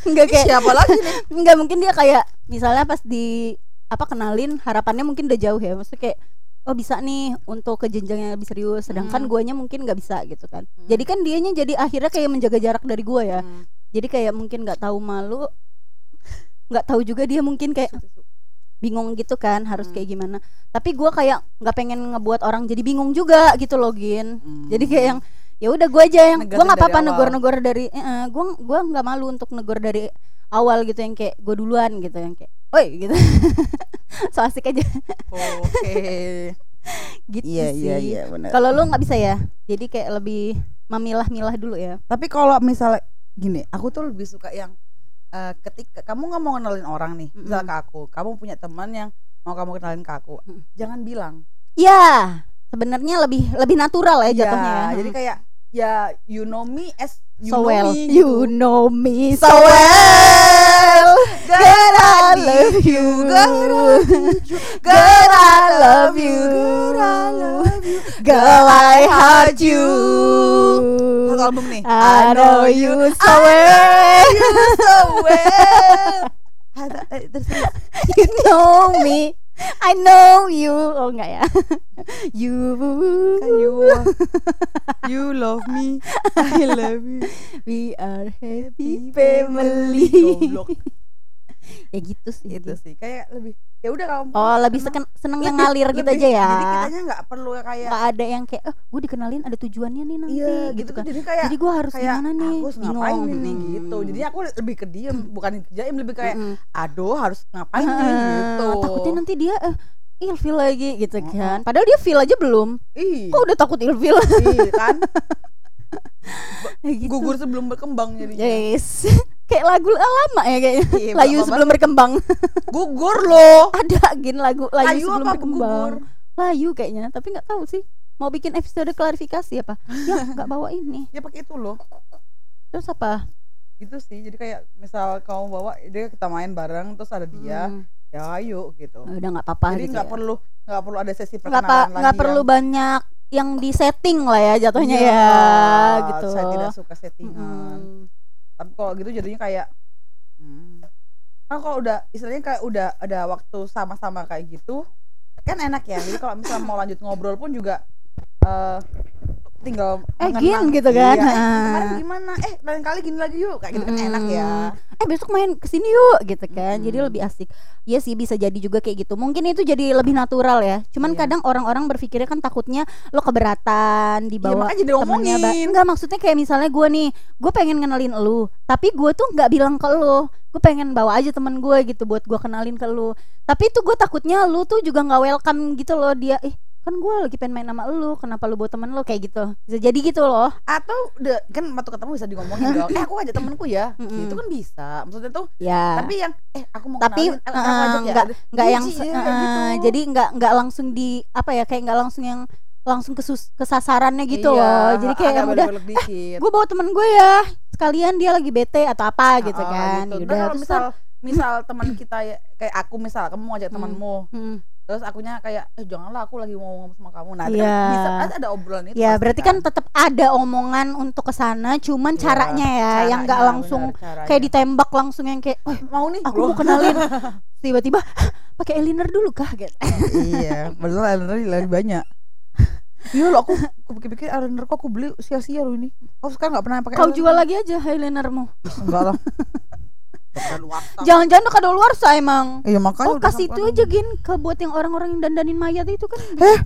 Speaker 3: nggak
Speaker 1: Ini
Speaker 3: kayak
Speaker 1: siapa lagi nih?
Speaker 3: nggak mungkin dia kayak misalnya pas di apa kenalin harapannya mungkin udah jauh ya maksudnya kayak oh bisa nih untuk ke jenjang yang lebih serius sedangkan
Speaker 1: Hmm.
Speaker 3: guanya mungkin nggak bisa gitu kan
Speaker 1: Hmm.
Speaker 3: jadi kan dianya jadi akhirnya kayak menjaga jarak dari gua ya
Speaker 1: Hmm,
Speaker 3: jadi kayak mungkin nggak tahu malu nggak tahu juga dia mungkin kayak
Speaker 1: tisu, tisu.
Speaker 3: bingung gitu kan harus
Speaker 1: Hmm.
Speaker 3: kayak gimana tapi gua kayak nggak pengen ngebuat orang jadi bingung juga gitu loh Gin
Speaker 1: Hmm.
Speaker 3: jadi kayak yang ya udah gue aja yang
Speaker 1: Negatif
Speaker 3: gue nggak
Speaker 1: dari
Speaker 3: apa-apa
Speaker 1: awal.
Speaker 3: negor-negor dari eh, eh, gue gua nggak malu untuk negor dari awal gitu yang kayak gue duluan gitu yang kayak oi gitu so asik aja
Speaker 1: Oke.
Speaker 3: gitu
Speaker 4: Iya iya
Speaker 3: sih
Speaker 4: iya benar.
Speaker 3: kalau lu nggak bisa ya jadi kayak lebih memilah-milah dulu ya
Speaker 4: Tapi kalau misalnya gini,
Speaker 1: aku tuh lebih suka yang eh, ketika kamu nggak mau kenalin orang nih,
Speaker 3: Mm-mm.
Speaker 1: misal ke aku, kamu punya teman yang mau kamu kenalin ke aku,
Speaker 3: Mm.
Speaker 1: jangan bilang.
Speaker 3: ya sebenarnya lebih lebih natural ya jatuhnya
Speaker 1: Ya,
Speaker 3: ya
Speaker 1: Jadi kayak ya you know me as you
Speaker 3: so
Speaker 1: know
Speaker 3: well
Speaker 1: me.
Speaker 3: you
Speaker 1: gitu.
Speaker 3: know me so well
Speaker 1: Girl,
Speaker 3: I love you
Speaker 1: girl, I love you.
Speaker 3: girl
Speaker 1: Girl, I love you.
Speaker 3: girl I hurt you
Speaker 1: Satu album nih.
Speaker 3: I know you
Speaker 1: Ah!
Speaker 3: so well
Speaker 1: so well. eh,
Speaker 3: You know me I know you Oh enggak ya You
Speaker 1: Kan you, you love me, I love you.
Speaker 3: We are happy family
Speaker 1: Goblok.
Speaker 3: ya gitu sih
Speaker 1: gitu sih kayak lebih ya udah kalau
Speaker 3: oh lebih seken, seneng yang ngalir gitu aja ya
Speaker 1: jadi kitanya nggak perlu kayak
Speaker 3: nggak ada yang kayak eh gue dikenalin ada tujuannya nih nanti
Speaker 1: iya
Speaker 3: gitu,
Speaker 1: gitu
Speaker 3: kan
Speaker 1: jadi kayak
Speaker 3: jadi gue harus
Speaker 1: kayak
Speaker 3: gimana nih
Speaker 1: aku harus ngapain ini
Speaker 3: Hmm.
Speaker 1: gitu jadi aku lebih ke diem bukan ke jaim lebih kayak
Speaker 3: Mm-mm.
Speaker 1: aduh harus ngapain nih
Speaker 3: Hmm. Ah,
Speaker 1: gitu
Speaker 3: takutnya nanti dia eh, ilfil lagi gitu kan padahal dia feel aja belum
Speaker 1: Ih,
Speaker 3: kok udah takut ilfil
Speaker 1: ih, Iya kan
Speaker 3: gitu.
Speaker 1: gugur sebelum berkembang
Speaker 3: Iya,
Speaker 1: jadi
Speaker 3: yes kayak lagu lama ya
Speaker 1: Iya,
Speaker 3: kayaknya layu
Speaker 1: bapak-bapak.
Speaker 3: sebelum berkembang
Speaker 1: gugur loh
Speaker 3: ada gin lagu layu,
Speaker 1: Layu
Speaker 3: Iya, sebelum
Speaker 1: apa
Speaker 3: berkembang
Speaker 1: gugur?
Speaker 3: layu kayaknya tapi nggak tahu sih mau bikin episode klarifikasi apa ya nggak bawa ini
Speaker 1: ya pakai itu loh
Speaker 3: terus apa
Speaker 1: gitu sih jadi kayak misal kamu bawa dia kita main bareng terus ada dia
Speaker 3: Hmm,
Speaker 1: ya ayo gitu
Speaker 3: udah nggak apa-apa
Speaker 1: jadi
Speaker 3: gitu
Speaker 1: nggak
Speaker 3: ya.
Speaker 1: perlu nggak perlu ada sesi
Speaker 3: nggak
Speaker 1: perkenalan
Speaker 3: pa-
Speaker 1: lagi ya. Iya,
Speaker 3: nggak perlu banyak yang disetting lah ya jatuhnya ya, gitu
Speaker 1: oh, saya tidak suka settingan
Speaker 3: Mm-mm.
Speaker 1: tapi kalau gitu jadinya kayak hmm. kan kalau udah istilahnya kayak udah ada waktu sama-sama kayak gitu kan enak ya jadi kalau misalnya mau lanjut ngobrol pun juga eh tinggal
Speaker 3: eh gin
Speaker 1: mengenang.
Speaker 3: gitu kan
Speaker 1: Iya, eh,
Speaker 3: Nah.
Speaker 1: kemarin gimana eh lain kali gini lagi yuk kayak gitu kan enak ya
Speaker 3: eh besok main kesini yuk gitu kan jadi
Speaker 1: Mm-mm.
Speaker 3: lebih asik ya sih bisa jadi juga kayak gitu mungkin itu jadi lebih natural ya cuman
Speaker 1: Iya.
Speaker 3: kadang orang-orang berpikirnya kan takutnya lo
Speaker 1: Iya
Speaker 3: keberatan dibawa
Speaker 1: makanya jadi
Speaker 3: temennya ba-
Speaker 1: omongin
Speaker 3: enggak maksudnya kayak misalnya gue nih gue pengen kenalin lu tapi gue tuh nggak bilang ke lu gue pengen bawa aja temen gue gitu buat gue kenalin ke lu tapi itu gue takutnya lu tuh juga nggak welcome gitu loh dia eh kan gue lagi pengen main sama lu kenapa lu bawa temen lu kayak gitu bisa jadi gitu loh
Speaker 1: atau udah- kan waktu ketemu bisa digomongin dong eh aku ajak temenku ya
Speaker 3: Mm-mm.
Speaker 1: gitu kan bisa maksudnya tuh
Speaker 3: ya
Speaker 1: tapi yang eh aku mau
Speaker 3: Tapi,
Speaker 1: kenalin, eh, aku
Speaker 3: eh,
Speaker 1: ajak ya.
Speaker 3: enggak- nggak yang
Speaker 1: Jijik
Speaker 3: se-
Speaker 1: ya, kayak
Speaker 3: eh,
Speaker 1: gitu.
Speaker 3: jadi nggak nggak langsung di apa ya kayak nggak langsung yang langsung kesus kesasarannya gitu
Speaker 1: Iya,
Speaker 3: loh jadi kayak
Speaker 1: agak
Speaker 3: yang udah
Speaker 1: belok-belok dikit.
Speaker 3: gue bawa temen gue ya sekalian dia lagi bete atau apa gitu
Speaker 1: Ah,
Speaker 3: kan
Speaker 1: gitu. Ntar
Speaker 3: Yaudah,
Speaker 1: kalau
Speaker 3: terus
Speaker 1: misal
Speaker 3: kan-
Speaker 1: misal teman kita ya- kayak aku misal kamu mau ajak
Speaker 3: Hmm.
Speaker 1: temanmu
Speaker 3: Mm.
Speaker 1: terus akunya kayak eh janganlah aku lagi mau ngomong sama kamu nah itu
Speaker 3: Iya.
Speaker 1: kan bisa kan ada obrolan itu
Speaker 3: Ya
Speaker 1: pasti
Speaker 3: berarti kan tetap ada omongan untuk ke sana cuman
Speaker 1: Iya,
Speaker 3: caranya ya yang nggak
Speaker 1: Caranya,
Speaker 3: langsung
Speaker 1: benar, iya. caranya.
Speaker 3: kayak ditembak langsung yang kayak "Wah,
Speaker 1: mau nih
Speaker 3: aku
Speaker 1: loh.
Speaker 3: mau kenalin tiba-tiba "Hah, pakai eyeliner dulu kah gitu.
Speaker 1: iya bener eyeliner lebih banyak iya loh aku aku pikir-pikir eyeliner kok aku beli sia-sia loh ini aku sekarang nggak pernah pakai
Speaker 3: Kau jual lagi aja eyelinermu.
Speaker 1: enggak lah
Speaker 3: Jangan-jangan lu kado luar sa emang.
Speaker 1: iya makanya
Speaker 3: oh kasih itu aja gin ke buat yang orang-orang yang dandanin mayat itu kan.
Speaker 1: Eh?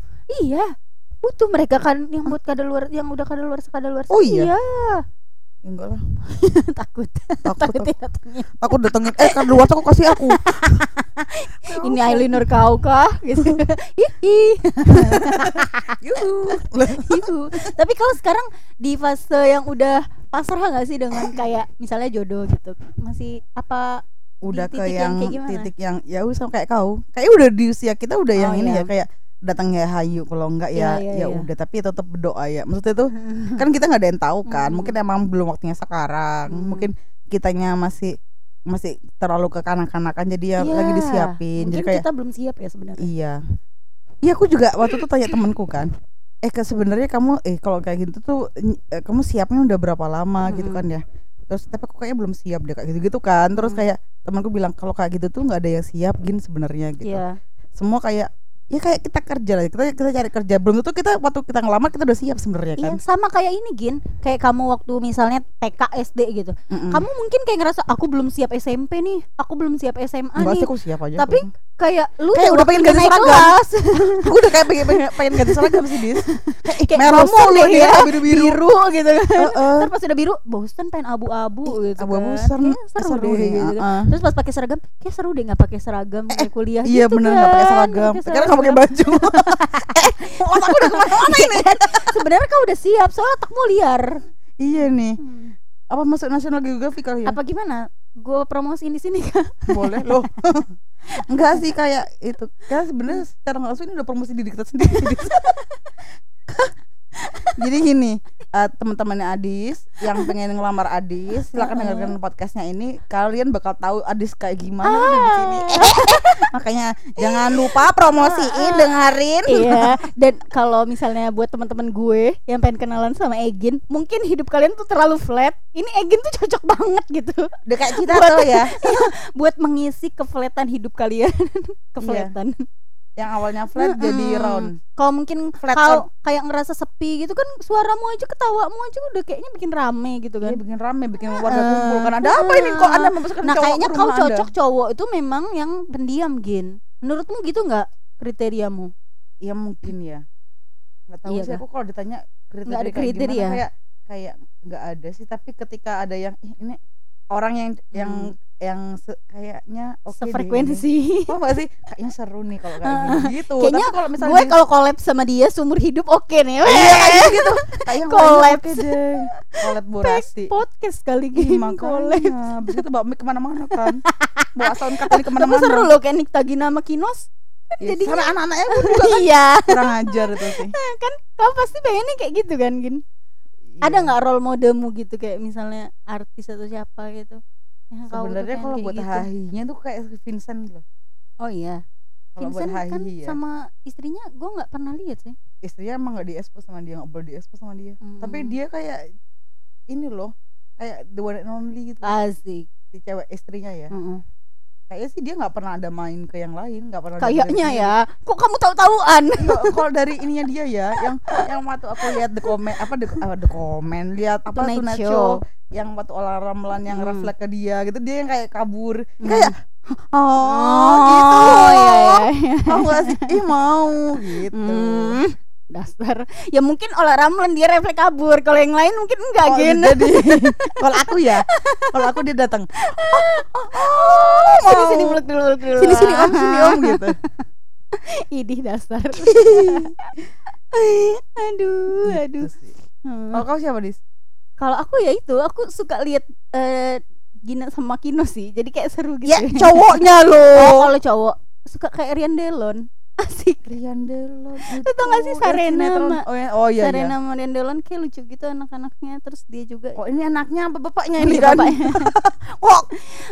Speaker 3: Iya. Butuh mereka kan yang buat kado luar yang udah kado luar kado luar.
Speaker 1: Oh iya? enggak lah
Speaker 3: takut.
Speaker 1: aku
Speaker 3: Takut datangnya.
Speaker 1: aku datengin eh kan luar aku kasih aku
Speaker 3: Ini
Speaker 1: kan?
Speaker 3: eyeliner kau kah? Gitu. Ih.
Speaker 1: yuhu
Speaker 3: Ibu. Tapi kalau sekarang di fase yang udah pasrah nggak sih dengan kayak misalnya jodoh gitu masih apa
Speaker 1: udah
Speaker 3: Di
Speaker 1: ke
Speaker 3: titik yang
Speaker 1: yang,
Speaker 3: kayak gimana?
Speaker 1: titik yang ya udah sama kayak kau kayak udah di usia kita udah yang
Speaker 3: Oh,
Speaker 1: ini
Speaker 3: iya.
Speaker 1: ya kayak datang ya hayu kalau enggak ya
Speaker 3: Iya, iya,
Speaker 1: ya
Speaker 3: iya.
Speaker 1: udah tapi tetap berdoa ya maksudnya tuh kan kita nggak ada yang tahu kan
Speaker 3: Mm.
Speaker 1: mungkin emang belum waktunya sekarang
Speaker 3: Mm.
Speaker 1: mungkin kitanya masih masih terlalu kekanak-kanakan jadi ya
Speaker 3: Iya.
Speaker 1: lagi disiapin
Speaker 3: mungkin
Speaker 1: jadi kayak
Speaker 3: kita belum siap ya sebenarnya
Speaker 1: iya iya aku juga waktu itu tanya temanku kan eh ke sebenarnya kamu eh kalau kayak gitu tuh eh, kamu siapnya udah berapa lama gitu
Speaker 3: Mm-mm.
Speaker 1: kan ya terus tapi aku kayaknya belum siap deh kayak gitu gitu kan terus
Speaker 3: Mm.
Speaker 1: kayak temanku bilang kalau kayak gitu tuh nggak ada yang siap gin sebenarnya gitu
Speaker 3: Iya.
Speaker 1: semua kayak ya kayak kita kerja lah kita kita cari kerja belum tentu kita waktu kita ngelamar kita udah siap sebenarnya kan
Speaker 3: Iya, sama kayak ini Gin Kayak kamu waktu misalnya TK SD gitu
Speaker 1: Mm-mm.
Speaker 3: Kamu mungkin kayak ngerasa aku belum siap SMP nih Aku belum siap SMA
Speaker 1: Enggak sih
Speaker 3: nih
Speaker 1: aku siap aja
Speaker 3: Tapi
Speaker 1: aku.
Speaker 3: Kayak lu
Speaker 1: Kayak
Speaker 3: tuh
Speaker 1: udah
Speaker 3: waktu
Speaker 1: pengen ganti
Speaker 3: naik
Speaker 1: seragam.
Speaker 3: kelas,
Speaker 1: aku udah kayak pengen pengen, pengen ganti seragam sih dis
Speaker 3: Kayak
Speaker 1: Meromo
Speaker 3: bosen
Speaker 1: loh
Speaker 3: ya,
Speaker 1: dia biru biru
Speaker 3: Biru gitu kan
Speaker 1: Heeh.
Speaker 3: Ntar pas udah biru bosen pengen abu-abu gitu
Speaker 1: abu-abu
Speaker 3: kan.
Speaker 1: serem,
Speaker 3: Kayaknya
Speaker 1: Iya,
Speaker 3: seru,
Speaker 1: seru
Speaker 3: deh,
Speaker 1: deh, Nah,
Speaker 3: gitu kan.
Speaker 1: heeh.
Speaker 3: terus pas pakai seragam kayak seru deh nggak pakai seragam kayak kuliah
Speaker 1: Iya
Speaker 3: gitu
Speaker 1: bener
Speaker 3: kan.
Speaker 1: nggak pakai seragam. Sekarang nggak pakai baju. eh, otak aku udah kemana-mana ini.
Speaker 3: Iya kan? sebenarnya kau udah siap soalnya otakmu liar
Speaker 1: iya nih.
Speaker 3: Hmm.
Speaker 1: Apa masuk National Geographic kali ya?
Speaker 3: apa gimana gue promosiin di sini kan
Speaker 1: Boleh loh. Enggak sih kayak itu. Kan
Speaker 3: Hmm.
Speaker 1: sebenarnya secara nggak langsung ini udah promosi diri kita sendiri. Dis. Jadi gini, eh, teman-temannya Adis yang pengen ngelamar Adis, silakan dengarkan podcastnya ini. Kalian bakal tahu Adis kayak gimana
Speaker 3: Ah.
Speaker 1: udah di sini. Makanya jangan lupa promosiin, dengerin.
Speaker 3: Ah. iya dan kalau misalnya buat teman-teman gue yang pengen kenalan sama Egin mungkin hidup kalian tuh terlalu flat ini Egin tuh cocok banget gitu
Speaker 1: Udah kayak kita
Speaker 3: Buat-
Speaker 1: tuh ya. Iya.
Speaker 3: buat mengisi keflatan hidup kalian keflatan
Speaker 1: yang awalnya flat
Speaker 3: Mm-mm.
Speaker 1: jadi round
Speaker 3: Kalau mungkin
Speaker 1: Flat
Speaker 3: kalau kayak ngerasa sepi gitu kan suaramu aja ketawamu aja kan udah kayaknya bikin rame gitu
Speaker 1: Iya
Speaker 3: kan.
Speaker 1: bikin rame bikin warga kumpul kan ada apa ini kok anda memasukkan
Speaker 3: Nah
Speaker 1: cowok
Speaker 3: kayaknya
Speaker 1: ke
Speaker 3: kau
Speaker 1: rumah
Speaker 3: cocok
Speaker 1: anda?
Speaker 3: cowok itu memang yang pendiam Gin. Menurutmu gitu nggak kriteriamu?
Speaker 1: Iya mungkin ya nggak tahu
Speaker 3: Iya
Speaker 1: sih
Speaker 3: kah?
Speaker 1: aku kalau ditanya kriteria
Speaker 3: Nggak ada
Speaker 1: kayak gimana,
Speaker 3: kriteria.
Speaker 1: kayak kayak nggak ada sih tapi ketika ada yang "Ih, ini orang yang yang yang se- kayaknya oke deh ini."
Speaker 3: Hmm. Sefrekuensi. Ah,
Speaker 1: Paham nggak sih kayaknya seru nih kalau kayak gini. gitu
Speaker 3: Kayaknya
Speaker 1: tapi kalau misalnya
Speaker 3: Gue
Speaker 1: di-
Speaker 3: kalau collab sama dia seumur hidup oke nih.
Speaker 1: Iya. kayaknya
Speaker 3: collabs.
Speaker 1: kolab Bu Rasti
Speaker 3: podcast kali
Speaker 1: Ih,
Speaker 3: gini collab.
Speaker 1: makanya abis itu Mbak Mi kemana-mana kan bawa soundcard ini
Speaker 3: Tapi
Speaker 1: kemana-mana
Speaker 3: seru loh kayak Nikta Gina sama Kinos.
Speaker 1: Ya,
Speaker 3: jadinya.
Speaker 1: karena anak-anaknya
Speaker 3: iya.
Speaker 1: kurang ajar itu sih
Speaker 3: Kau pasti pengennya kayak gitu kan Gin. ada
Speaker 1: Iya.
Speaker 3: nggak role modelmu gitu kayak misalnya artis atau siapa gitu yang kau tuh
Speaker 1: sebenarnya
Speaker 3: pengen
Speaker 1: kalau
Speaker 3: kayak
Speaker 1: buat
Speaker 3: gitu.
Speaker 1: hahinya tuh kayak Vincent gitu. loh
Speaker 3: oh iya
Speaker 1: kalau buat
Speaker 3: Vincent
Speaker 1: hahi
Speaker 3: kan
Speaker 1: ya
Speaker 3: sama istrinya gue nggak pernah lihat sih
Speaker 1: istrinya emang nggak diekspos sama dia nggak boleh diekspos sama dia tapi
Speaker 3: Hmm.
Speaker 1: dia kayak ini loh kayak the one and only gitu
Speaker 3: Ah. asik
Speaker 1: si cewek istrinya ya
Speaker 3: Mm-mm.
Speaker 1: kayaknya sih dia nggak pernah ada main ke yang lain nggak pernah ada
Speaker 3: kayaknya
Speaker 1: dari-
Speaker 3: ya kok kamu tahu-tahuan
Speaker 1: Iya, kalau dari ininya dia ya yang yang waktu aku lihat the comment apa the, apa the comment lihat apa
Speaker 3: Tonight
Speaker 1: Tonight
Speaker 3: Show.
Speaker 1: Show yang waktu olah ramlan yang
Speaker 3: Hmm.
Speaker 1: refleks ke dia gitu dia yang kayak kabur
Speaker 3: Hmm.
Speaker 1: kayak oh,
Speaker 3: Oh,
Speaker 1: gitu
Speaker 3: iya, iya.
Speaker 1: mau gak sih ih mau gitu
Speaker 3: Hmm, dasar ya mungkin olah ramlan dia refleks kabur kalau yang lain mungkin enggak
Speaker 1: Oh,
Speaker 3: Gin
Speaker 1: jadi kalau aku ya kalau aku dia datang
Speaker 3: sini
Speaker 1: mau.
Speaker 3: sini peluk dulu peluk dulu
Speaker 1: sini sini om sini om gitu
Speaker 3: idih dasar aduh aduh
Speaker 1: Gitu sih.
Speaker 3: Hmm.
Speaker 1: kalau kau siapa dis
Speaker 3: Kalau aku ya itu, aku suka lihat eh Gina sama Kino sih. Jadi kayak seru gitu.
Speaker 1: ya cowoknya
Speaker 3: Oh,
Speaker 1: loh
Speaker 3: kalau cowok suka kayak Rian Delon. Asik.
Speaker 1: Rian Delon itu
Speaker 3: tau nggak sih Sarena sama-
Speaker 1: oh, ya, oh iya iya
Speaker 3: Serena sama Rian Delon kayak lucu gitu anak-anaknya. Terus dia juga
Speaker 1: Oh ini anaknya apa bapaknya ini
Speaker 3: Ini
Speaker 1: kan?
Speaker 3: bapaknya.
Speaker 1: Kok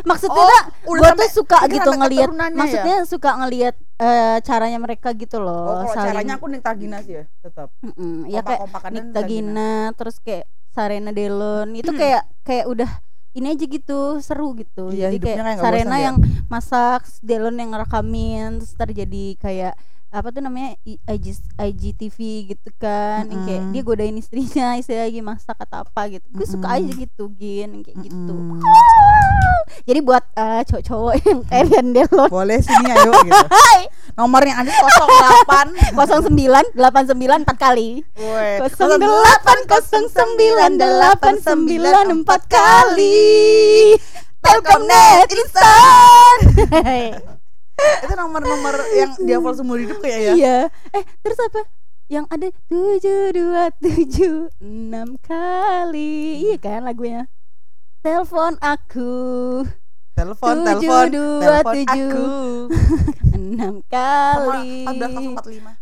Speaker 3: Maksudnya tuh,
Speaker 1: udah
Speaker 3: gua
Speaker 1: sampai
Speaker 3: tuh suka
Speaker 1: Oh, ini ya?
Speaker 3: gitu
Speaker 1: sampai
Speaker 3: ngelihat.
Speaker 1: keturunannya
Speaker 3: Maksudnya suka ngelihat eh caranya mereka gitu
Speaker 1: ya?
Speaker 3: loh.
Speaker 1: Oh, kalau
Speaker 3: saling-
Speaker 1: caranya Oh, aku Nikta Gina sih ya, tetap.
Speaker 3: Mm-mm, ya kayak
Speaker 1: Kompak-kompakannya
Speaker 3: Nikta Gina, nah, terus kayak Sarena Delon
Speaker 1: Hmm.
Speaker 3: itu kayak kayak udah ini aja gitu seru gitu
Speaker 1: Iya,
Speaker 3: jadi
Speaker 1: hidupnya
Speaker 3: kayak,
Speaker 1: kayak nggak
Speaker 3: Sarena
Speaker 1: bosan ya.
Speaker 3: yang masak Delon yang ngerekamin terus ntar jadi kayak apa tuh namanya I- IG, IGTV gitu kan yang kayak
Speaker 1: Mm-mm.
Speaker 3: dia godain istrinya istrinya lagi masak atau apa gitu gue suka
Speaker 1: Mm-mm.
Speaker 3: aja gitu gin kayak gitu
Speaker 1: Mm-mm.
Speaker 3: jadi buat eh, cowok-cowok yang kayak Rian Delon
Speaker 1: Boleh sini ayo gitu. Nomornya ada 08.
Speaker 3: 09 89 4 kali 0809 4 kali Telkomnet Instan
Speaker 1: Iya. Itu nomor-nomor yang dia follow seumur hidup kayak ya.
Speaker 3: Iya Eh terus apa? Yang ada 7276 kali Iya kan lagunya Telepon aku
Speaker 1: Telepon,
Speaker 3: Tujuh,
Speaker 1: telepon,
Speaker 3: dua,
Speaker 1: telepon
Speaker 3: tujuh.
Speaker 1: aku.
Speaker 3: 6 kali
Speaker 1: Sama 14.45.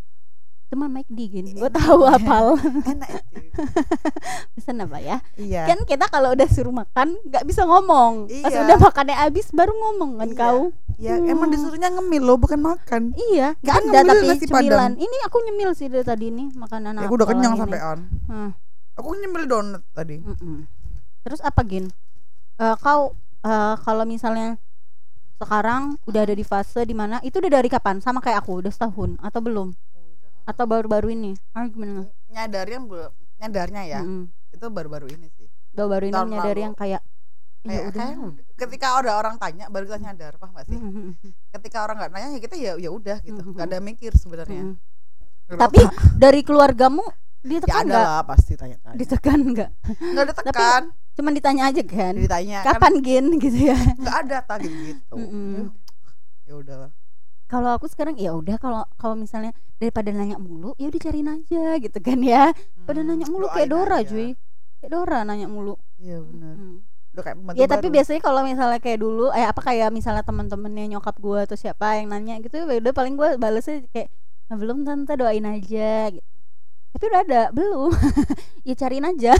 Speaker 3: Cuma Mike Digin Gue tahu apal
Speaker 1: Enak itu.
Speaker 3: Pesan apa ya
Speaker 1: Iya.
Speaker 3: kan kita kalau udah suruh makan nggak bisa ngomong pas
Speaker 1: Iya.
Speaker 3: udah makannya habis baru ngomong kan
Speaker 1: Iya.
Speaker 3: kau
Speaker 1: Ya, emang disuruhnya ngemil loh, bukan makan.
Speaker 3: iya nggak
Speaker 1: Kita
Speaker 3: ada
Speaker 1: ngemil
Speaker 3: tapi
Speaker 1: Kan nasi Padang.
Speaker 3: cemilan ini aku nyemil sih dari tadi nih makanan
Speaker 1: Ya,
Speaker 3: apa
Speaker 1: aku udah kenyang
Speaker 3: ini.
Speaker 1: sampean.
Speaker 3: Hmm.
Speaker 1: Aku nyemil donat tadi.
Speaker 3: Mm-mm. terus apa gin Eh, kau eh, kalau misalnya sekarang udah ada di fase dimana itu udah dari kapan sama kayak aku udah setahun atau belum atau baru-baru ini ah gimana
Speaker 6: nyadarnya belum nyadarnya
Speaker 1: Iya.
Speaker 6: ya
Speaker 3: Mm-mm.
Speaker 6: itu baru-baru ini sih
Speaker 3: baru-baru ini
Speaker 6: Tahun
Speaker 3: menyadari
Speaker 6: lalu.
Speaker 3: yang kayak "Ya
Speaker 6: kayak,
Speaker 3: udah." Hmm.
Speaker 6: kayak udah. ketika ada orang tanya baru kita nyadar paham gak sih
Speaker 3: Mm-mm.
Speaker 6: ketika orang nggak nanya ya kita ya ya udah gitu
Speaker 3: Mhm.
Speaker 6: nggak ada mikir sebenarnya
Speaker 3: Mm-mm.
Speaker 6: Ngerti
Speaker 3: Hmm. tapi dari keluargamu dia
Speaker 6: apa? ya ada
Speaker 3: tekan nggak
Speaker 6: lah pasti tanya-tanya
Speaker 3: ditekan nggak
Speaker 6: nggak ada
Speaker 3: Tapi-
Speaker 6: tekan
Speaker 3: cuman ditanya aja kan
Speaker 6: ditanya kan
Speaker 3: kapan Hmm, gin gitu ya
Speaker 6: nggak ada tadi gitu
Speaker 3: Mm-mm.
Speaker 6: ya udah
Speaker 3: kalau aku sekarang ya udah kalau kalau misalnya daripada nanya mulu ya udah cariin aja gitu kan ya
Speaker 6: Hmm,
Speaker 3: pada nanya mulu kayak Dora cuy kayak Dora nanya mulu
Speaker 6: Iya benar.
Speaker 3: Mm.
Speaker 6: Udah kayak pembantu
Speaker 3: ya tapi
Speaker 6: baru.
Speaker 3: biasanya kalau misalnya kayak dulu eh apa kayak misalnya teman-temannya nyokap gua atau siapa yang nanya gitu ya udah paling gua balesnya kayak "Nah, belum tante doain aja gitu. tapi udah ada belum ya cariin aja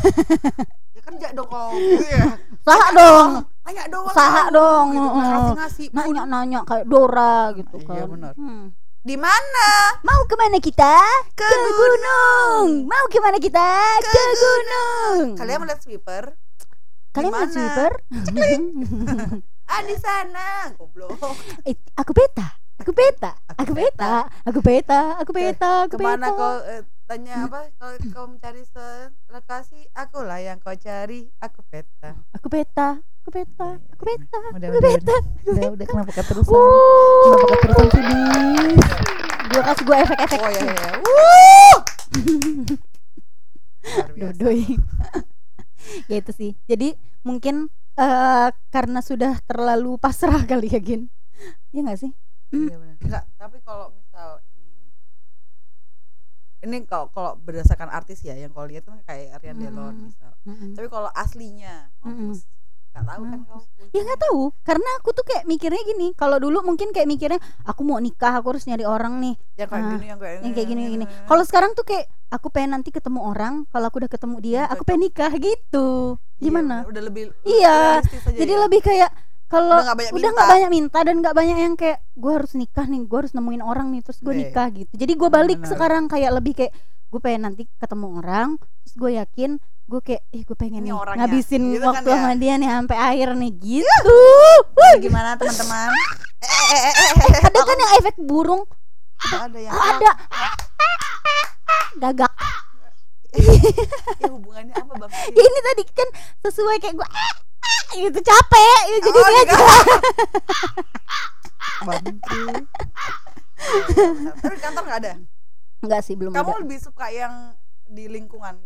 Speaker 6: Ya kerja dong kau. Iya.
Speaker 3: saha dong
Speaker 6: Tanya dong.
Speaker 3: saha
Speaker 6: kamu.
Speaker 3: dong
Speaker 6: Gitu,
Speaker 1: Nah,
Speaker 6: nggak
Speaker 3: heeh.
Speaker 6: ngasih-ngasih.
Speaker 3: nanya-nanya kayak Dora gitu
Speaker 1: Iya,
Speaker 3: kan
Speaker 1: benar.
Speaker 3: Hmm.
Speaker 6: Di mana?
Speaker 3: Mau kemana kita? Ke, gunung. Mau kemana kita? Ke, gunung.
Speaker 6: Kalian melihat sweeper?
Speaker 3: Kalian mau
Speaker 6: Gimana?
Speaker 3: sweeper?
Speaker 6: Ah di sana. Goblok.
Speaker 3: Eh, aku beta. aku peta aku peta aku peta aku peta aku
Speaker 1: Kemana
Speaker 3: peta
Speaker 1: kau eh, tanya apa? Kalau kau mencari se- lokasi, akulah yang kau cari. Aku peta.
Speaker 3: aku peta aku peta aku peta
Speaker 2: Udah, udah, udah, udah, udah, kenapa keterusan?
Speaker 1: Oh,
Speaker 3: Wuh.
Speaker 2: Kenapa keterusan sih, Dis?
Speaker 3: gua kasih gua efek-efek
Speaker 1: Oh ya ya.
Speaker 3: dodoi ya itu sih jadi mungkin eh, karena sudah terlalu pasrah kali ya Gin ya nggak sih
Speaker 1: Iya, Enggak, tapi kalau misal ini ini kalau kalau berdasarkan artis ya yang kau lihat kan kayak Ariana
Speaker 3: Mm.
Speaker 1: Delon misal.
Speaker 3: Mm-mm.
Speaker 1: Tapi kalau aslinya
Speaker 3: Mm-mm.
Speaker 1: mampus. Enggak tahu kan kau.
Speaker 3: ya Hmm. nggak tahu karena aku tuh kayak mikirnya gini kalau dulu mungkin kayak mikirnya aku mau nikah aku harus nyari orang nih
Speaker 1: Yang kayak
Speaker 3: Ah,
Speaker 1: gini yang kayak
Speaker 3: yang kayak gini gini kalau sekarang tuh kayak aku pengen nanti ketemu orang kalau aku udah ketemu dia aku pengen nikah gitu
Speaker 1: Iya,
Speaker 3: gimana
Speaker 1: bener. udah lebih
Speaker 3: Iya,
Speaker 1: realistis aja
Speaker 3: jadi
Speaker 1: ya.
Speaker 3: lebih kayak kalau
Speaker 1: udah nggak banyak
Speaker 3: udah
Speaker 1: minta.
Speaker 3: nggak banyak minta dan nggak banyak yang kayak gue harus nikah nih gue harus nemuin orang nih terus gue
Speaker 1: Iya.
Speaker 3: nikah gitu jadi gue balik
Speaker 1: Benar.
Speaker 3: sekarang kayak lebih kayak gue pengen nanti ketemu orang terus gue yakin gue kayak ih gue pengen
Speaker 1: Ini
Speaker 3: nih
Speaker 1: orangnya.
Speaker 3: ngabisin
Speaker 1: Gitu kan
Speaker 3: waktu
Speaker 1: ya. Iya.
Speaker 3: sama dia nih sampai akhir nih gitu
Speaker 2: Jadi Gimana teman-teman?
Speaker 3: ada kan yang efek burung
Speaker 1: ada yang
Speaker 3: Oh, ada gagak
Speaker 1: ya hubungannya apa bang
Speaker 3: Ya, ini tadi kan sesuai kayak gue gitu capek ya, jadi
Speaker 1: Oh,
Speaker 3: dia
Speaker 1: enggak. tapi di kantor nggak ada
Speaker 3: enggak sih belum
Speaker 1: kamu
Speaker 3: ada
Speaker 1: lebih suka yang di lingkungan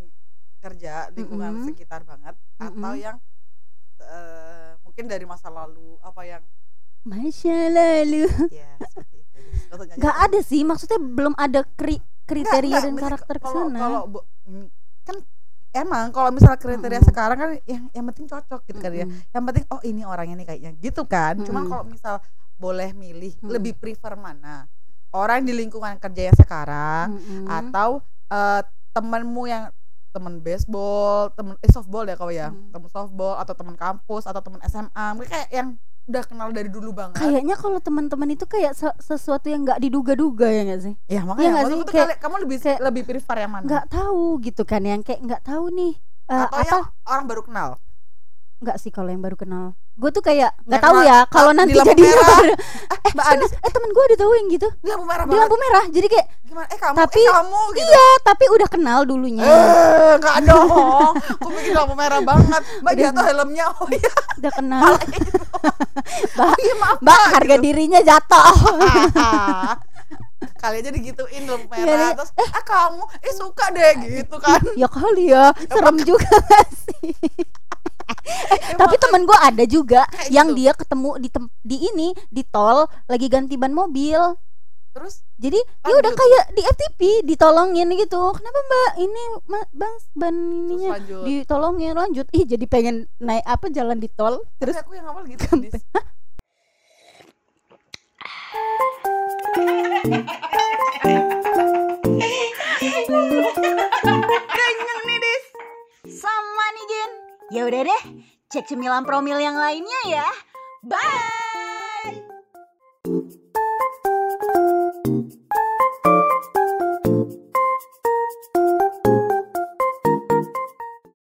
Speaker 1: kerja lingkungan
Speaker 3: Mm-mm.
Speaker 1: sekitar banget atau
Speaker 3: Mm-mm.
Speaker 1: yang eh, mungkin dari masa lalu apa yang
Speaker 3: masya lalu
Speaker 1: ya seperti itu Nggak usah nyanyi.
Speaker 3: nggak ada sih maksudnya belum ada kri-
Speaker 1: Nggak,
Speaker 3: kriteria
Speaker 1: nggak,
Speaker 3: dan
Speaker 1: maksudnya
Speaker 3: karakter
Speaker 1: kalau-
Speaker 3: kesana
Speaker 1: kalau bu- mm, kan emang kalau misalnya kriteria
Speaker 3: Mm-mm.
Speaker 1: sekarang kan yang yang penting cocok gitu kan ya
Speaker 3: Mm-mm.
Speaker 1: yang penting oh ini orangnya nih kayaknya gitu kan cuman
Speaker 3: Mm-mm.
Speaker 1: kalau misal boleh milih
Speaker 3: Mm-mm.
Speaker 1: lebih prefer mana orang di lingkungan kerja yang sekarang
Speaker 3: Mm-mm.
Speaker 1: atau eh, temenmu yang temen baseball, temen eh, softball ya kau ya,
Speaker 3: Mm.
Speaker 1: temen softball atau temen kampus atau temen SMA, mungkin kayak yang udah kenal dari dulu banget.
Speaker 3: kayaknya kalau teman-teman itu kayak se- sesuatu yang nggak diduga-duga ya nggak sih
Speaker 1: ya
Speaker 3: iya
Speaker 1: makanya
Speaker 3: nggak
Speaker 1: maksudku
Speaker 3: sih?
Speaker 1: tuh
Speaker 3: Kayak-
Speaker 1: kalian- kamu lebih
Speaker 3: kayak-
Speaker 1: lebih prefer yang mana?
Speaker 3: nggak tahu gitu kan yang kayak nggak tahu nih eh,
Speaker 1: atau yang
Speaker 3: apa
Speaker 1: orang baru kenal?
Speaker 3: nggak sih kalau yang baru kenal gue tuh kayak nggak
Speaker 1: Yang
Speaker 3: tahu
Speaker 1: kenal-
Speaker 3: ya kalau
Speaker 1: di
Speaker 3: nanti
Speaker 1: lampu
Speaker 3: jadi
Speaker 1: merah.
Speaker 3: eh,
Speaker 1: Mbak
Speaker 3: sana, eh temen gue ada tahu yang gitu
Speaker 1: Di lampu merah
Speaker 3: di
Speaker 1: banget.
Speaker 3: lampu merah jadi kayak
Speaker 1: Gimana? Eh kamu,
Speaker 3: Tapi- Iya.
Speaker 1: eh kamu gitu.
Speaker 3: "Ah, tapi udah kenal dulunya
Speaker 1: Eh, enggak dong. Aku pikir lampu merah banget. Mbak
Speaker 3: Udah.
Speaker 1: jatuh helmnya. Oh iya,
Speaker 3: udah kenal mbak
Speaker 1: iya maaf.
Speaker 3: mbak harga dirinya jatuh
Speaker 1: Kalian jadi gituin lampu merah
Speaker 3: Iya, iya.
Speaker 1: terus ah kamu eh suka deh gitu kan.
Speaker 3: ya kali ya serem juga nggak sih Iya.
Speaker 1: Eh,
Speaker 3: tapi temen gue ada juga
Speaker 1: Kayak
Speaker 3: yang
Speaker 1: gitu.
Speaker 3: dia ketemu di tem- di ini di tol lagi ganti ban mobil
Speaker 1: Terus
Speaker 3: jadi dia
Speaker 1: Lanjut.
Speaker 3: udah kayak di FTP ditolongin gitu kenapa mbak ini Ma- bang ban
Speaker 1: terus
Speaker 3: ininya
Speaker 1: lanjut.
Speaker 3: ditolongin lanjut ih jadi pengen naik apa jalan di tol
Speaker 1: terus
Speaker 3: terus kan
Speaker 1: aku yang awal gitu Dis.
Speaker 3: sama nih Gen ya udah deh cek cemilan promil yang lainnya ya bye